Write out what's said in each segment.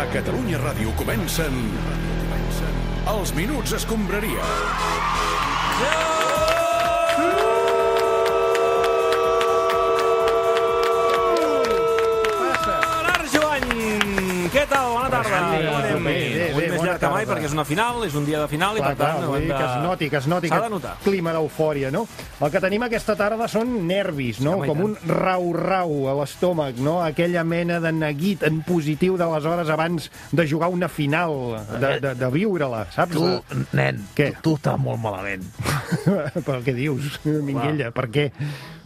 A Catalunya Ràdio comencen... comencen Els Minuts Escombraria. Gerard Joan! Què tal? Bona tarda. Grande. Com anem? Bé, bé, Avui bé, més bona llarg que mai tarda. perquè és una final, és un dia de final i Clar, per tant... clar, ho vull hem dir que es noti, que es noti S'ha aquest de notar. clima d'eufòria, no? El que tenim aquesta tarda són nervis, no? home, i Com un rau-rau a l'estómac, no? Aquella mena de neguit en positiu de les hores abans de jugar una final, de, de, de viure-la, saps? Tu, nen, Què? Tu, tu estàs molt malament. Però què dius, Minguella? Per què?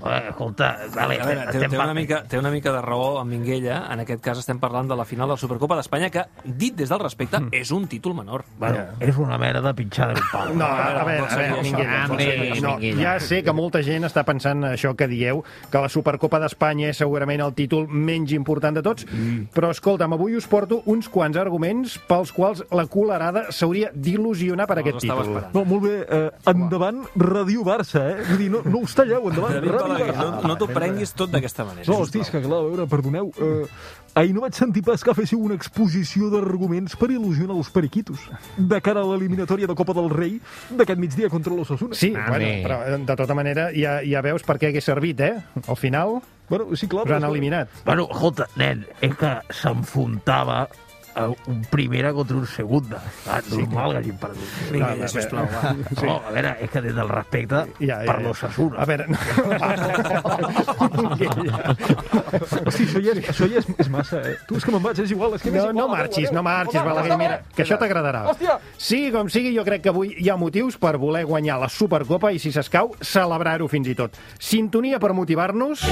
Eh, Escolta, vale, A veure, té, estem té, una parlant- mica, té una mica de raó amb Minguella. En aquest cas estem parlant de la final de la Supercopa d'Espanya, que, dit des del Hmm. respecte, és un títol menor. Bueno, és una merda pitjada d'un pal. No, a veure, pot a ser veure, que- Minguella, Ah, pot ser Minguella, que- no, Minguella. ja sé que molta gent està pensant això que dieu, que la Supercopa d'Espanya és segurament el títol menys important de tots, però escolta'm, avui us porto uns quants arguments pels quals la culerada s'hauria d'il·lusionar per aquest estava títol. esperant. No, molt bé. Eh, endavant, Radio Barça, eh? Vull dir, no, no us talleu, endavant, eh, David Radio Balaguer, Barça. no, no t'ho prenguis tot d'aquesta manera. No, hosti, és que clar, a veure, perdoneu. Eh, ahir no vaig sentir pas que féssiu una exposició d'arguments per il·lusionar els periquitos de cara a l'eliminatòria de Copa del Rei d'aquest migdia contra l'Ossassuna. Sí, Ah, bueno, bé. però eh, de tota manera ja, ja veus per què hagués servit, eh? Al final Bueno, sí, clar. us han eliminat. Bueno, escolta, nen, és que s'enfrontava a un primera contra un segunda. Ah, normal que hagin perdut. Minguella, No, no, sisplau, va. Sí. No, a veure, és que des del respecte Ja, ja, per ja. l'Ossassuna. A veure... No, Hosti, això ja, és, això ja és, és massa, eh? Tu, és que me'n vaig, és igual. És que m'és no, igual, no adéu, marxis, adéu. no marxis, Va, va, Balaguer, va, mira, que això t'agradarà. Hòstia! Sí, com sigui, jo crec que avui hi ha motius per voler guanyar la Supercopa i, si s'escau, celebrar-ho fins i tot. Sintonia per motivar-nos.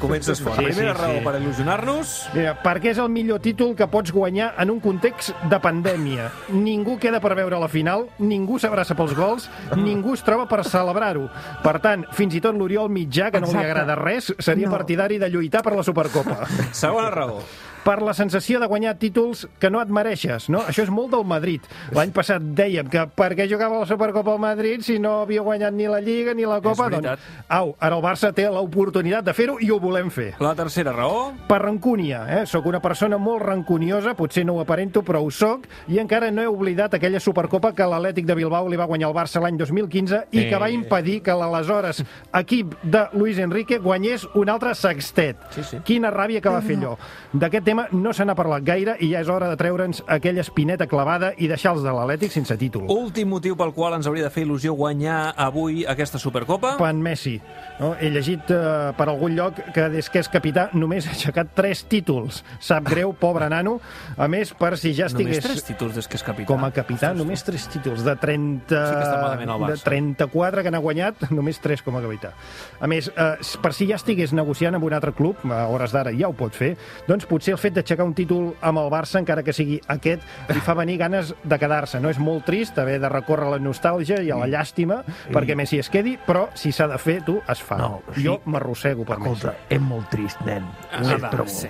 Comences fort. Sí, sí, Primera sí. raó per il·lusionar-nos. Mira, perquè és el millor títol que pots guanyar en un context de pandèmia. Ningú queda per veure la final, ningú s'abraça pels gols, ningú es troba per celebrar-ho. Per tant, fins i tot l'Oriol Mitjà, que no li Exacte. agrada res, seria No. partidari de lluitar per la Supercopa. Segona raó. per la sensació de guanyar títols que no et mereixes, no? Això és molt del Madrid. L'any passat dèiem que per què jugava la Supercopa al Madrid si no havia guanyat ni la Lliga ni la Copa? veritat. Doncs, au, ara el Barça té l'oportunitat de fer-ho i ho volem fer. La tercera raó. Per rancúnia, eh? Sóc una persona molt rancuniosa, potser no ho aparento, però ho sóc, i encara no he oblidat aquella Supercopa que l'Atlètic de Bilbao li va guanyar al Barça l'any 2015 i que va impedir que l'aleshores equip de Luis Enrique guanyés un altre sextet. Sí, sí. Quina ràbia que va fer allò. D'aquest tema no se n'ha parlat gaire i ja és hora de treure'ns aquella espineta clavada i deixar els de l'Atlètic sense títol. Últim motiu pel qual ens hauria de fer il·lusió guanyar avui aquesta Supercopa. Pan Messi. No? He llegit eh, per algun lloc que des que és capità només ha aixecat tres títols. Sap greu, pobre nano. A més, per si ja Només estigués... tres títols des que és capità. com a capità, només tres títols de 30... Sí que està malament el de Barça. 34 que n'ha guanyat, només tres com a capità. A més, eh, per si ja estigués negociant amb un altre club, a hores d'ara ja ho pot fer, doncs potser el fet d'aixecar un títol amb el Barça, encara que sigui aquest, li fa venir ganes de quedar-se. No és molt trist haver de recórrer a la nostàlgia i a Mm. la llàstima perquè Messi es quedi, però si s'ha de fer, tu, es fa. No, sí. Jo m'arrossego per Messi. Escolta, és molt trist, nen. Ah, Ho és, però molt. Sí.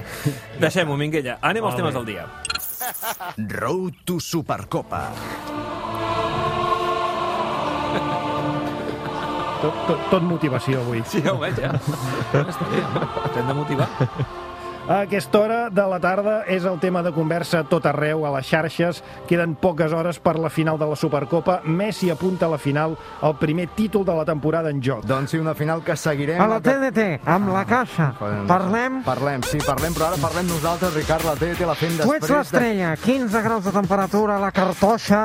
Deixem-ho, Minguella. Anem als temes del dia. Road to Supercopa. Tot, tot, tot motivació avui. Sí, ja ho veig, ja. Està bé, home. T'hem de motivar. A aquesta hora de la tarda és el tema de conversa a tot arreu, a les xarxes. Queden poques hores per la final de la Supercopa. Messi apunta a la final el primer títol de la temporada en joc. Doncs sí, una final que seguirem... A la TDT, amb la caixa. Doncs- Parlem... Parlem, sí, parlem, però ara parlem nosaltres, Ricard, la TDT la fem Tu després... ets l'estrella, 15 graus de temperatura, la cartoixa,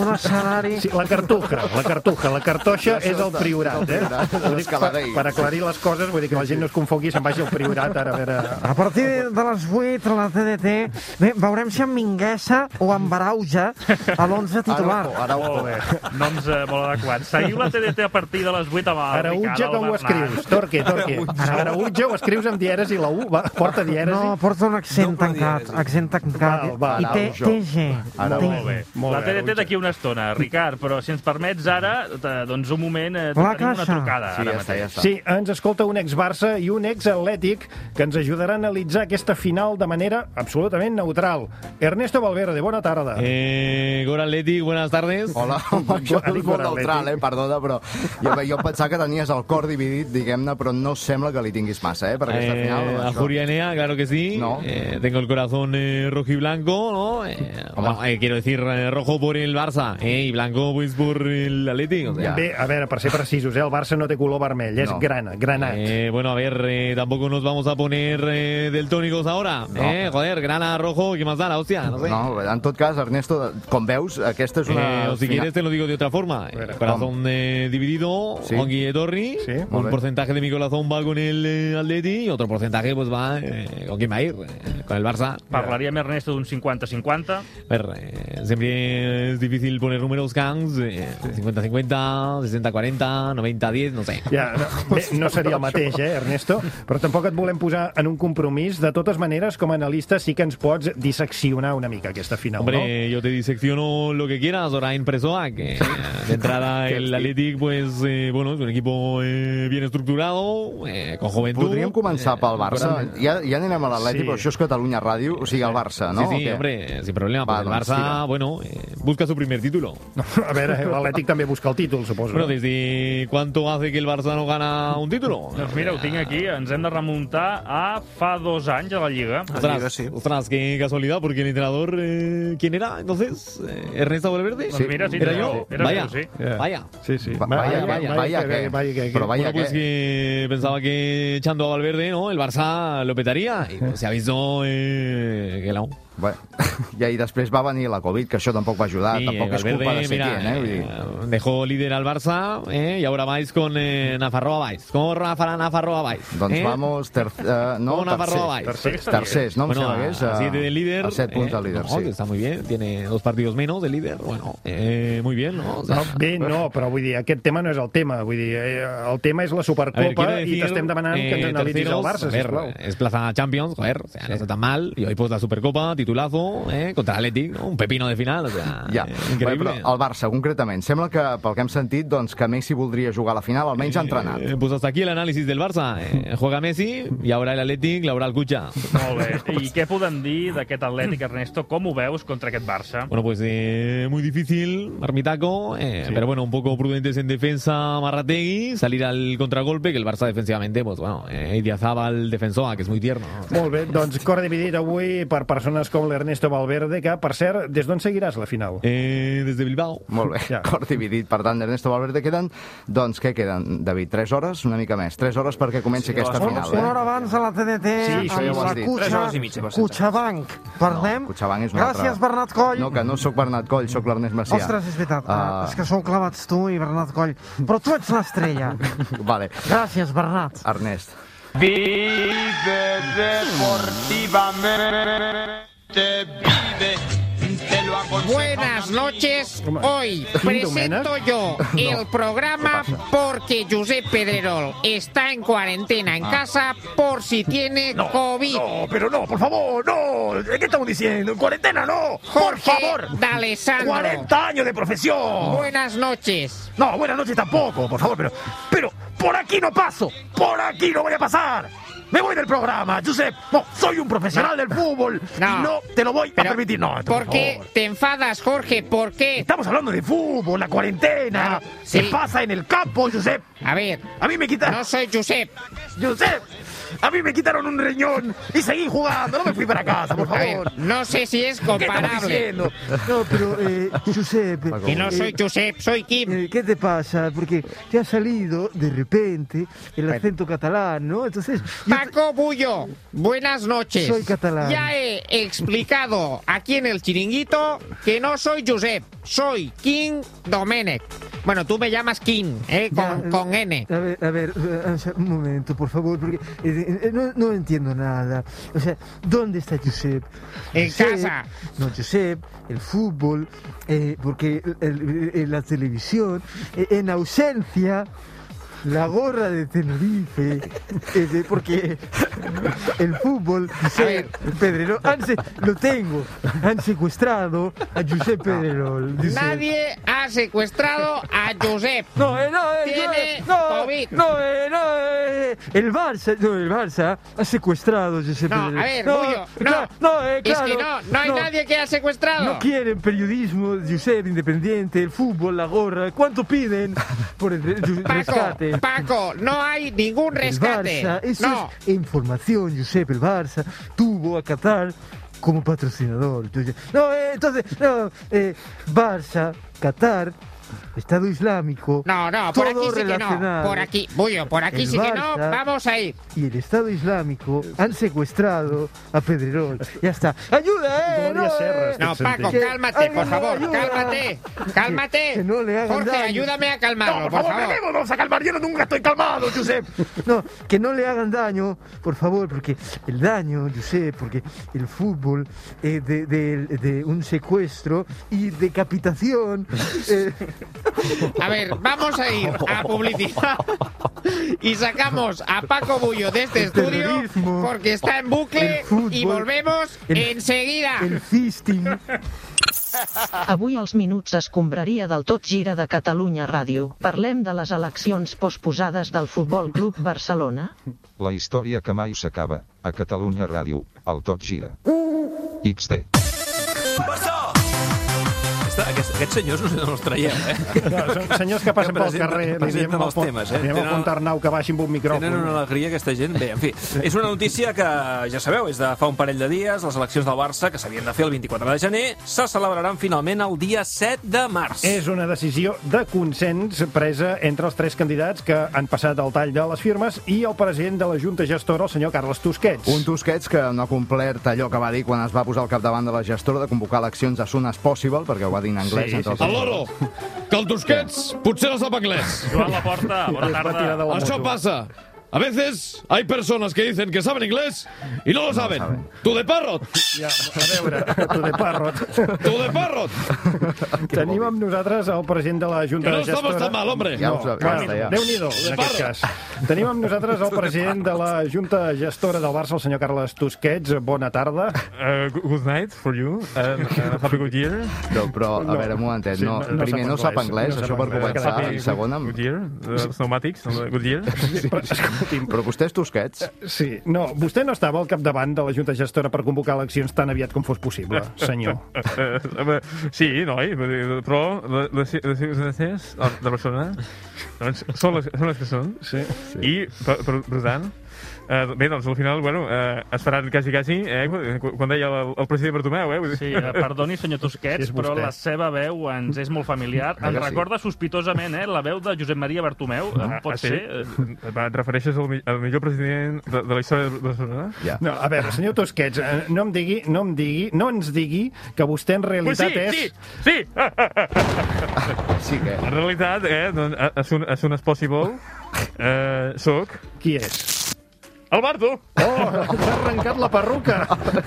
un escenari... Sí, la cartuja, la cartuja, la cartoixa és el és el priorat, eh? priorat, Ho dic per, l'escaladell. per aclarir les coses, vull dir que la gent no es confongui i se'n vagi al priorat ara a veure... A partir de- de les 8, a la TDT, bé, veurem si amb Minguesa o amb Barauja a l'11 Ara, titular. ara, ara, Noms eh, molt adequats. Seguiu la TDT a partir de les 8 amb el Arautja, com ho escrius? Torque, torque. Arautja ho escrius amb dieresi, la U, va, porta dieresi. No, porta un accent Doble tancat, dièresi. accent tancat. Eh, Val, I val, té jo. TG. Ara, té. Molt bé. Molt la bé, TDT Roger. d'aquí una estona, Ricard, però si ens permets ara, eh, doncs un moment, eh, La tenim una caixa. trucada Sí, ara ja està, ja mateix. està. Sí, ens escolta un ex-Barça i un ex-Atlètic que ens ajudaran a li- analitzar aquesta final de manera absolutament neutral. Ernesto Valverde, bona tarda. Eh, Goran Leti, buenas tardes. Hola, home, això Gol- és molt Gol neutral, eh? Atlètic. Perdona, però jo, jo pensava que tenies el cor dividit, diguem-ne, però no sembla que li tinguis massa, eh? Per aquesta Eh, final. a això. Julianea, claro que sí. No. Eh, tengo el corazón eh, rojo y blanco, ¿no? Eh, bueno, eh, quiero decir, eh, rojo por el Barça eh, y blanco pues, por el Atleti. o sea, Ja. Bé, a veure, per ser precisos, eh? el Barça no té color vermell, és No. grana, granat. Eh, bueno, a ver, eh, tampoco nos vamos a poner eh, deltónicos ahora. No. Eh, joder, grana rojo, ¿qué más da la hostia? No sé. No, en tot cas, Ernesto, com veus, aquesta és una... Eh, o si final- quieres te lo digo de otra forma. Eh, Bueno, corazón eh, dividido, Sí. con Guille Torri. Sí, muy un bien. porcentaje de mi corazón va con el eh, Atleti y otro porcentaje pues va eh, con quién va a ir, Eh, con el Barça. Parlaria amb Ernesto d'un 50-50. A ver, eh, siempre es difícil poner números cans, eh, 50-50, 60-40, 90-10, no sé. Ja, no, bé, no seria el mateix, eh, Ernesto? Però tampoc et volem posar en un compromís. De totes maneres, com a analista sí que ens pots disseccionar una mica aquesta final, no? Hombre, yo te disecciono lo que quieras, ahora en Presoa, que eh, de entrada el Athletic, pues, eh, bueno, es un equipo eh, bien estructurado, eh, con juventud. Podríem començar pel Barça. Ja, ja anirem a l'Atleti, Sí. sí. però això és Catalunya Ràdio, o sigui, el Barça, no? sí, O sí, què? hombre, eh, sin problema. Va, porque el doncs, Barça, tira. bueno, eh, busca su primer título. A veure, l'Atlètic també busca el títol, suposo. Bueno, ¿desde cuánto hace que el Barça no gana un título? Eh, Doncs mira, ho tinc aquí. Ens hem de remuntar a fa dos anys a la Lliga. Ostras, ostras, qué casualidad, porque el entrenador, eh, ¿quién era entonces? Eh, ¿Ernesto Valverde? Doncs mira, sí, ¿Era sí, yo? eres vaya, tu, sí. Ja. vaya. Sí, sí. Va, vaya, vaya, vaya, vaya, que- que, vaya que- Però vaya Bueno, pues que... que pensaba que echando a Valverde, ¿no? El Barça lo petaría. Y pues, se avisó eh, que no. Bueno, ja, I després va venir la Covid, que això tampoc va ajudar, Sí, tampoc eh, és culpa de mira, Setién, eh? Vull dir... eh, dejó líder al Barça eh, y ahora vais con eh, Nafarroa Vais. ¿Cómo Rafa Nafarroa Vais? Doncs eh? vamos, ter... eh, no, Bona barra tercer, baix. tercers, tercers, no em Bueno, sembla que és... a 7 del líder. A 7 punts eh, del líder, no, que sí. Está muy bien, tiene dos partidos menos del líder. Bueno, eh, muy bien, ¿no? O sea, No, bé, no, però vull dir, aquest tema no és el tema. Vull dir, eh, el tema és la a ver, Supercopa quiero i decir, t'estem demanant que ens eh, analitzis el terceros, Barça, a ver, sisplau. Es plaza Champions, joder, o sea, no está tan mal. Y hoy pues la Supercopa, titulazo, eh, contra el Athletic, ¿no? un pepino de final, o sea, Ja, eh, Bé, increíble. però el Barça, concretament, sembla que, pel que hem sentit, doncs, que Messi voldria jugar a la final, almenys ha entrenat. Eh, pues hasta aquí el análisis del Barça. Eh, juega Messi y ahora el Athletic, la hora el Cucha. Molt bé. I què podem dir d'aquest Atlètic, Ernesto? Com ho veus contra aquest Barça? Bueno, pues eh, muy difícil, Marmitaco, eh, pero bueno, un poco prudentes en defensa, Marrategui, salir al contragolpe, que el Barça defensivamente, pues bueno, eh, Idiazábal, defensoa, que es muy tierno. ¿no? O sea, Molt bé, doncs cor dividit avui per persones com l'Ernesto Valverde, que, per cert, des d'on seguiràs la final? eh, desde Bilbao. Molt bé, Ja. ja. cor dividit. Per tant, Ernesto Valverde queden... Doncs què queden, David? 3 hores? Una mica més. 3 hores perquè comenci sí, aquesta Una, una hora final, eh? abans a la TDT, Sí, això ja amb ho has la dit. Tres Cutxa, hores i mitja, per cent. Cutxabanc. Parlem. Cotxabanc és una Gràcies, altra... Bernat Coll. No, que no sóc Bernat Coll, sóc l'Ernest Macià. Ostres, és veritat. Ah. Uh... És que sou clavats tu i Bernat Coll. Però tu ets l'estrella. Vale, Gràcies, Bernat. Ernest. Vive deportivamente, vive, te lo aconsejo. Buenas noches. Home, Hoy ¿Quim presento Domènech? yo el programa porque Josep Pedrerol está en cuarentena en casa por si tiene COVID. Ah. No, pero no, por favor, no. ¿Qué estamos diciendo? ¡Cuarentena, no! ¡Por Jorge favor! D'Alessandro. ¡40 años de profesión! Buenas noches. No, buenas noches tampoco, por favor, pero. Pero por aquí no paso, por aquí no voy a pasar. Me voy del programa, Josep. No, soy un profesional del fútbol. No. Y no te lo voy Pero, a permitir. No, esto, ¿Por qué favor. te enfadas, Jorge? ¿Por qué? Ah. Estamos hablando de fútbol, la cuarentena. Claro, Se sí. pasa en el campo, Josep. A ver, A mí me quitaron. no soy Josep. Josep, a mí me quitaron un riñón y seguí jugando. No me fui para casa, por A ver, favor. no sé si es ¿Qué estamos comparable. diciendo? No, pero, eh, Josep, Y no soy Josep, soy Kim. eh, ¿qué te pasa? Porque te ha salido de repente el acento catalán, ¿no? Entonces, yo- Paco Bullo, buenas noches. Soy catalán. Ya he explicado aquí en el chiringuito que no soy Josep, soy King Domenech. Bueno, tú me llamas King, ¿eh? Ya, con, eh, con N. A ver, a ver, eh, Ansa, un momento, por favor, porque eh, eh, no, no entiendo nada. O sea, ¿dónde está Josep? En Josep- casa. No, Josep, el fútbol, eh, porque el- el- el- la televisión, eh, en ausencia. la gorra de Tenerife, eh, ese, porque el fútbol, dice Pedrerol, han se- lo tengo, han secuestrado a Josep Pedrerol. dice. Nadie ha secuestrado a Josep. No, eh, no, eh, Tiene no, eh, COVID. no, eh, no, eh, el Barça, no, el Barça ha secuestrado a Josep No, Pedrerol. a ver, Bullo, no. claro, no, eh, Es claro, que no, no hay nadie que ha secuestrado. No quieren periodismo, Josep, independiente, el fútbol, la gorra. ¿Cuánto piden por el re- ju- rescate? Paco, Paco, no hay ningún rescate. El Barça, eso no. es información, Josep. El Barça tuvo a Qatar como patrocinador. Yo ya- No, eh, entonces, no, eh, Barça, Qatar, Estado Islámico. No, no, por todo aquí sí que no. relacionado. Por aquí, Bullo, por aquí El sí que no. Barça- Vamos a ir. Y el Estado Islámico han secuestrado a Pedrerol. Ya está. ¡Ayuda, eh! Gloria Serra, estic No, Paco, sentint. cálmate, por Ayuda, favor, ayuda. cálmate, cálmate. Que no le hagan Jorge, daño. ayúdame a calmarlo, por favor. vamos a calmar. Yo nunca estoy calmado, Josep. No, que no le hagan daño, por favor, porque el daño, Josep, porque el fútbol eh, de, de- de un secuestro y decapitación. eh, A ver, vamos a ir a publicidad y sacamos a Paco Bullo de este estudio terrorismo, porque está en bucle el fútbol, y volvemos el- enseguida. el fisting. Avui als minuts escombraria del tot gira de Catalunya Ràdio. Parlem de les eleccions posposades del Futbol Club Barcelona. La història que mai s'acaba, a Catalunya Ràdio, el tot gira. XT. Aquesta, aquests, aquests senyors no, no els traieu, eh? No, són senyors que passen pel presenten- carrer, li diem presenten al els pont- temes, li eh? diem al Tenen- Pontarnau que baixi amb un micròfon. Tenen una alegria aquesta gent. Bé, en fi, és una notícia que, ja sabeu, és de fa un parell de dies. Les eleccions del Barça, que s'havien de fer el 24 de gener, se celebraran finalment el dia 7 de març. És una decisió de consens presa entre els tres candidats que han passat el tall de les firmes i el president de la Junta Gestora, el senyor Carles Tusquets. Un Tusquets que no ha complert allò que va dir quan es va posar al capdavant de la gestora de convocar eleccions as soon as possible, perquè ho va dir en anglès. Sí, entre els sí, sí. altres. Loro, que el Tusquets potser no sap anglès. Joan Laporta, bona tarda. Es va tirar de la Això moto. passa. A veces hay personas que dicen que saben inglés y no lo saben. Tu de parrot. Ja, a veure, tu de parrot. Tu de parrot. Tenim amb nosaltres el president de la Junta Que no de Gestora. estamos tan mal, hombre. No, Ja ho sabem, clar, basta, ja. Déu-n'hi-do, en aquest cas. Tenim amb nosaltres el president de la Junta Gestora del Barça, el senyor Carles Tusquets. Bona tarda. Uh, good good night for you and uh, happy good year. No, però, a veure, un momentet, no, primer no sap anglès, això per començar, Happy i segona... Good year, uh, pneumàtics, uh, good year. Però vostè és Tusquets? Sí, no, vostè no estava al capdavant de la Junta Gestora per convocar eleccions tan aviat com fos possible, senyor. Eh, sí, noi, vull dir, però le- les les circumstàncies de Barcelona doncs, són, les, són les que són. Sí. I, per, per, per tant, eh, bé, doncs al final, bueno, eh, es faran quasi, quasi, eh, quan quan deia el, el president Bartomeu, eh? vull dir- Sí, eh, perdoni, senyor Tusquets, Sí, és però vostè. la seva veu ens és molt familiar. Ah, Ens que sí. recorda sospitosament eh, la veu de Josep Maria Bartomeu. Ah, Eh, Pot ah, sí? ser... eh. Va, Et refereixes al, mi- al millor president de, de la història de Barcelona? Ja. No, a veure, senyor Tosquets, eh, no em digui, no em digui, no ens digui que vostè en realitat és... sí, sí, sí que... En realitat, eh, doncs, a- as soon, as soon as possible, eh, soc... Qui és? El Bardo! Oh, s'ha arrencat la perruca!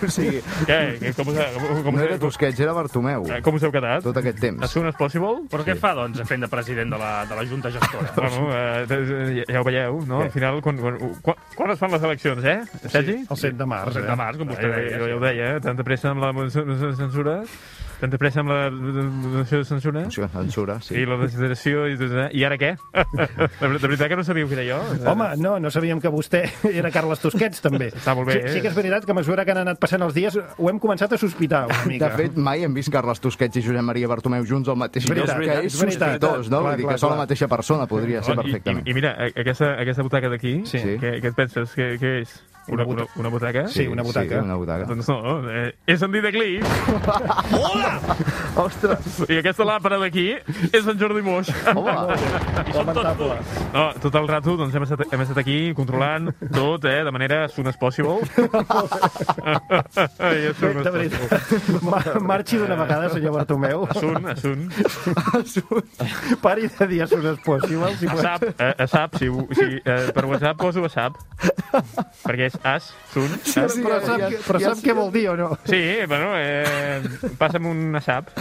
O sigui, Què? Què? Com, us- com, com, no era Tusquets, era Bartomeu. Com us heu quedat? Tot aquest temps. As soon as possible. Però què fa, doncs, fent de president de la, de la Junta Gestora? Bueno, eh, de- ja, ja ho veieu, no? Al final, quan, quan, quan, quan es fan les eleccions, eh, Sergi? el 7 de març, El 7 eh? de març, com vostè Eh, deia. sí. Jo ja ho deia, eh? tanta pressa amb la moció de censura, tanta pressa amb la moció de censura. Moció de censura, sí. I la desideració, i, tot, eh? i ara què? de, ver- de veritat que no sabíeu què era jo? Home, no, no sabíem que vostè era Carles Tusquets, també. Està molt bé, sí, sí que és veritat que a mesura que han anat passant els dies ho hem començat a sospitar una mica. De fet, mai hem vist Carles Tusquets i Josep Maria Bartomeu junts al mateix És veritat, lloc, és que és veritat. sospitós, no? Clar, Vull dir clar, que són clar. la mateixa persona, podria ser Oh, i- perfectament. I, i mira, a- aquesta, aquesta butaca d'aquí, sí. què, què et penses? Què, què és? Una, una, una butaca? Sí, una Sí, butaca. sí, una butaca. Doncs no, eh, és en Dida Clic. Hola! Ostres! I aquesta làmpara d'aquí és en Jordi Moix. Lamentable. No, tot el rato doncs, hem, estat, hem estat aquí controlant tot, eh, de manera as soon as possible. I as soon as De veritat. Mar- Marxi d'una vegada, senyor Bartomeu. Asun, asun. Pari de dir a son possible, si pot. ASAP, eh, ASAP, si, ho- si eh, per WhatsApp poso ASAP, perquè és AS, SUN. Però sap, que- però sap què vol dir o no? Sí, bueno, eh, passa'm un ASAP.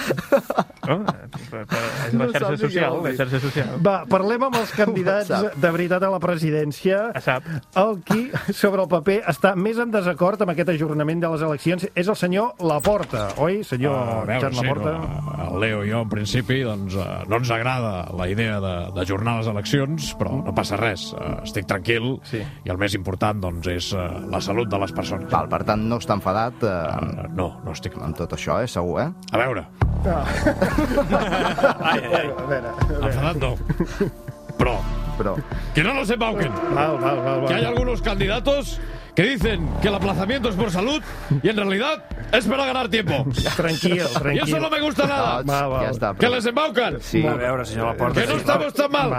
No? Per, per, és la No sap xarxa ni què social, vol la dir. xarxa social. Va, parlem amb els candidats WhatsApp. de veritat a la presidència. El qui, sobre el paper, està més en desacord amb aquest ajornament de les eleccions és el senyor Laporta, oi, Ah, senyor A veure, Xat sí, Laporta? no, el Leo i jo, en principi, doncs, eh, no ens agrada la idea de- d'ajornar les eleccions, però no passa res. Eh, Estic tranquil sí. i el més important doncs, és eh, la salut de les persones. Val, per tant, no està enfadat eh, amb, no, no estic amb tot això, eh, segur, eh? A veure, Ai, ai. A veure, enfadat no. Però, però... que no nos embauquen. Val, val, val, Que hay algunos candidatos que dicen que el aplazamiento es por salud y en realidad es para ganar tiempo. Tranquilo, Y eso tranquilo. no me gusta nada. Va, va. Ja està, que però- les embaucan. Sí. A veure, señor Laporta, Que no sí. estamos tan mal.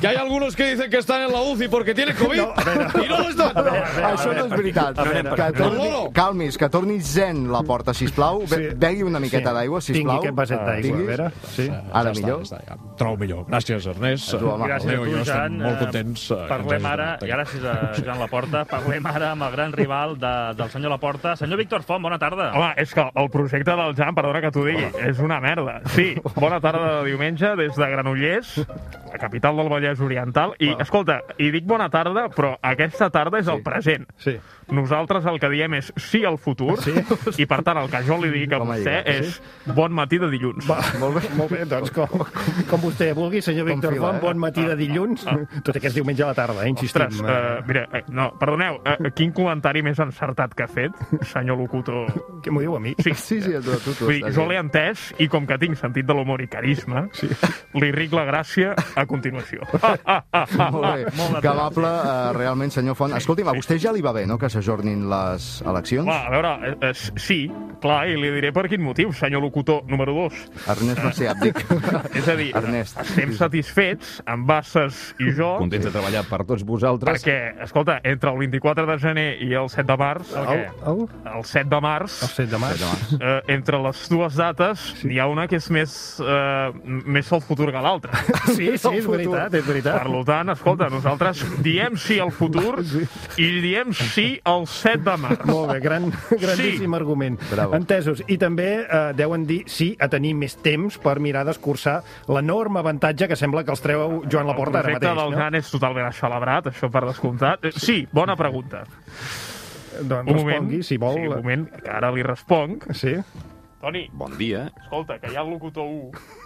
Que hay algunos que dicen que están en la UCI porque tienen COVID y no lo están. Això no és veritat. Que torni, calmis, que torni zen la porta, sisplau. Be begui una miqueta d'aigua, sisplau. eh, Tinguis. Sí. Ara millor. Eh, Ja està, ja. Trobo millor. Gràcies, Ernest. A tu, home. Gràcies Leo i jo estem molt Eh, contents. eh, que ens hagis Parlem ara, eh, donat i gràcies a Joan Laporta, parlem ara amb el gran rival de, del senyor Laporta. Senyor Víctor Font, bona tarda. Home, és que el projecte del Jan, perdona que t'ho digui, és una merda. Sí, bona tarda de diumenge des de Granollers, la capital del Vallès Oriental. I, escolta, i dic bona tarda, però aquesta tarda és el present. Sí. Nosaltres el que diem és sí al futur, sí. i per tant el que jo li dic a Com a vostè llibre, és bon matí de dilluns. Va, molt bé. Molt bé, doncs com, com, com vostè vulgui, senyor Com Víctor fila, Font, eh? bon matí de dilluns, tot aquest diumenge a la tarda, eh, insistim. Ah. Ostres, uh, mira, eh, no, perdoneu, uh, quin comentari més encertat que ha fet, senyor locutor? Què m'ho diu a mi? Sí, sí, sí a tu, a tu, tu Vull dir, estàs jo bé. l'he entès i com que tinc sentit de l'humor i carisma, sí. li ric la gràcia a continuació. Ah, ah, ah, ah, Molt bé. natural. que amable, eh, realment, senyor Font. Escolti'm, a vostè ja li va bé, no?, que s'ajornin les eleccions? Clar, a veure, eh, eh, sí, clar, i li diré per quin motiu, senyor locutor número 2. Ernest Macià, et dic. És a dir, Ernest. estem satisfets amb Basses i jo. Contents de treballar per tots vosaltres. Perquè, escolta, entre el 24 de gener i el 7 de març... El- El, què? el 7 de març... El 7 de març. Eh, entre les dues dates sí. hi ha una que és més, eh, més el futur que l'altra. Sí, sí, és veritat, és veritat. Per tant, escolta, nosaltres diem sí al futur i diem sí al 7 de març. Molt bé, gran, grandíssim sí. argument. Bravo. Entesos. I també eh, deuen dir sí a tenir més temps per mirar d'escurçar l'enorme avantatge que sembla que els treu Joan Laporta ara El projecte mateix. del no? GAN és totalment celebrat, això per descomptat. Eh, Sí, bona pregunta. Doncs respongui, si vol. Sí, un moment, que ara li responc. Sí. Toni, Bon dia. escolta, que hi ha el locutor 1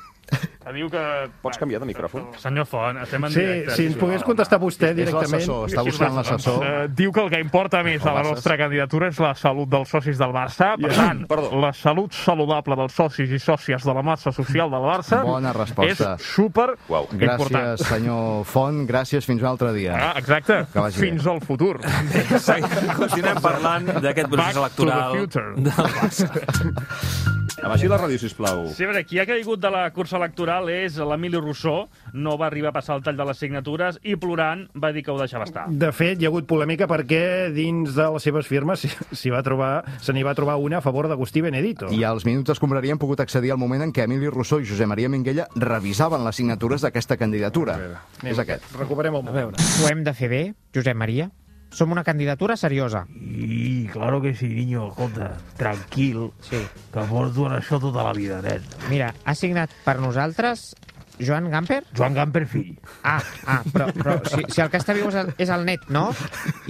que diu que... Pots canviar de micròfon? Senyor Font, estem Sí, si ens pogués contestar És vostè directament... l'assessor, està buscant l'assessor. Eh, diu que el que importa més a la nostra candidatura és la salut dels socis del Barça. Per tant, la salut saludable dels socis i sòcies de la massa social del Barça Bona resposta. és super Gràcies, important. senyor Font. Gràcies, fins un altre dia. Ah, exacte. Que vagi bé. Fins al futur. Continuem parlant d'aquest procés Back to the electoral future. del Barça. Abaixi la ràdio, sisplau. Sí, a veure, qui ha caigut de la cursa electoral és l'Emili Rousseau. No va arribar a passar el tall de les signatures i, plorant, va dir que ho deixava estar. De fet, hi ha hagut polèmica perquè dins de les seves firmes s'hi va trobar, se n'hi va trobar una a favor d'Agustí Benedito. I als minuts d'escombraria hem pogut accedir al moment en què Emili Rousseau i Josep Maria Minguella revisaven les signatures d'aquesta candidatura. És aquest. Recuperem el moment. Ho hem de fer bé, Josep Maria? Som una candidatura seriosa. I claro que sí, niño, escolta, tranquil, sí. que porto en això tota la vida, nen. Mira, ha signat per nosaltres Joan Gamper? Joan Gamper, fill. Ah, ah però, però si, si el que està viu és el, és el net, no?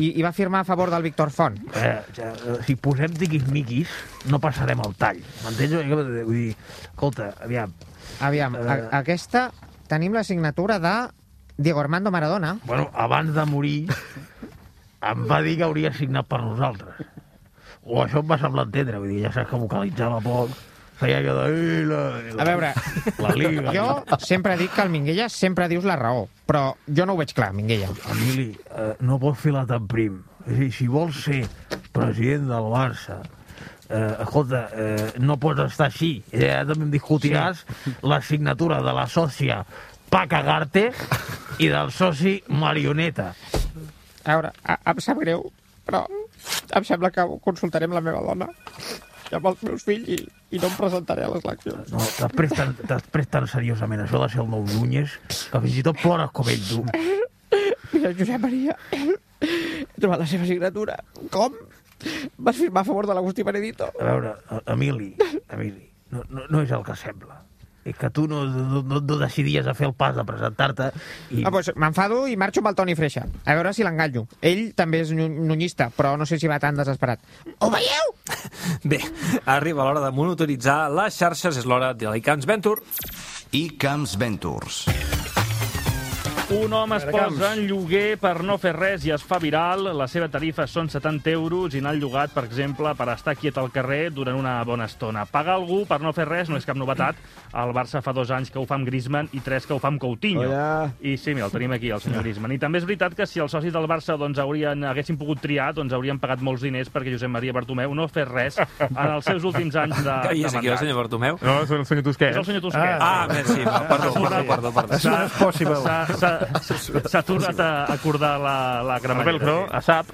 I, I va firmar a favor del Víctor Font. Eh, ja, eh, si posem tiquismiquis, no passarem el tall. M'entens? Vull dir, escolta, aviam. Aviam, a, Eh. aquesta tenim la signatura de Diego Armando Maradona. Bueno, abans de morir, em va dir que hauria signat per nosaltres. O això em va semblar entendre, vull dir, ja saps que vocalitzava poc, feia allò de... "Eh, La, la, A veure, la Liga. jo sempre dic que al Minguella sempre dius la raó, però jo no ho veig clar, Minguella. Emili, eh, no pots filar tan prim. És a dir, si vols ser president del Barça, eh, escolta, eh, no pots estar així. Eh, ara també em discutiràs sí. la signatura de la sòcia pa cagarte i del soci marioneta. A veure, a, em sap greu, però em sembla que consultarem la meva dona i amb els meus fills i, i no em presentaré a les eleccions. No, després tan, després tan seriosament això de ser el nou Núñez, que fins i tot plores com ell, tu. Mira, Josep Maria, he trobat la seva signatura. Com? Vas firmar a favor de l'Agustí Benedito? eh, A veure, a- Emili, Emili, no, no, no és el que sembla. eh, que tu no, no, no, no decidies a fer el pas de presentar-te. I... Ah, doncs m'enfado i marxo amb el Toni Freixa. A veure si l'enganyo. Ell també és nu- nunyista, però no sé si va tan desesperat. Ho veieu? Bé, arriba l'hora de monitoritzar les xarxes, és l'hora de l'Icams Venture. iCamps Ventures. Un home es posa en lloguer per no fer res i es fa viral. La seva tarifa són 70 euros i anar al llogat, per exemple, per estar quiet al carrer durant una bona estona. Pagar algú per no fer res no és cap novetat. El Barça fa dos anys que ho fa amb Griezmann i tres que ho fa amb Coutinho. Hola. I sí, mira, el tenim aquí, el senyor Griezmann. I també és veritat que si els socis del Barça doncs, haurien, haguessin pogut triar, doncs haurien pagat molts diners perquè Josep Maria Bartomeu no fes res en els seus últims anys de, Que hi és de aquí, el mandat. senyor Bartomeu? No, és el senyor Tusquets. És el senyor Tusquets. Ah, ah merci. va, Perdó, perdó, perdó. perdó. S'ha- s'ha- s'ha- S'ha tornat a acordar la, la cremallera. Abel Cro, a SAP.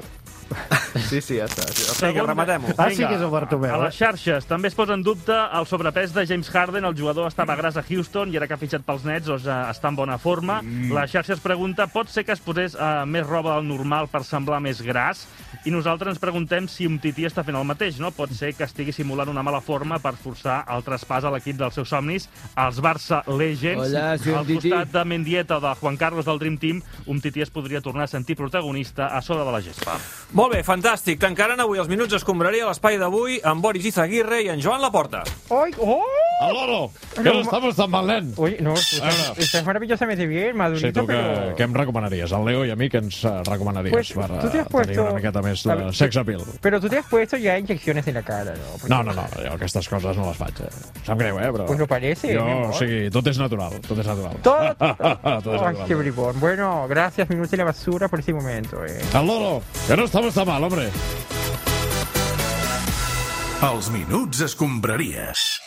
Sí, sí, ja està. Sí, Segon- Ah, sí que és el Bartomeu. A les xarxes també es posa en dubte el sobrepès de James Harden. El jugador estava gras a Houston i ara que ha fitxat pels Nets doncs, eh, està en bona forma. Mm. La xarxa es pregunta, pot ser que es posés eh, més roba del normal per semblar més gras? I nosaltres ens preguntem si un tití està fent el mateix, no? Pot ser que estigui simulant una mala forma per forçar el traspàs a l'equip dels seus somnis, als Barça Legends. Hola, soy al un tití. costat de Mendieta, de Juan Carlos del Dream Team, un tití es podria tornar a sentir protagonista a sobre de la gespa. Molt bé, fantàstic. Tancaran avui els minuts escombraria l'espai d'avui amb Boris Izaguirre i en Joan Laporta. ¡Ay! ¡Oh! ¡Al oro! Que no estamos tan mal, nen. Uy, no, A estás, veure. estás maravillosamente bien, madurito, Sí, tu que, pero... què em recomanaries? Al Leo i a mi què ens eh, recomanaries Pues, per tu eh, t'hi has tenir puesto- una miqueta més eh, A de ver, sex appeal? Pero tú te has puesto ya inyecciones en la cara, ¿no? Porque- No, no, no, jo aquestes coses no les faig. Eh. Em Sap greu, eh, però... Pues no parece, Jo, mi amor. o sigui, tot és natural, tot és natural. Tot- tot és Ay, qué natural. bribón. Bueno, gracias, Minuto y la Basura, por ese momento, eh. Al loro, que no estamos tan mal, hombre. Els minuts escombraries.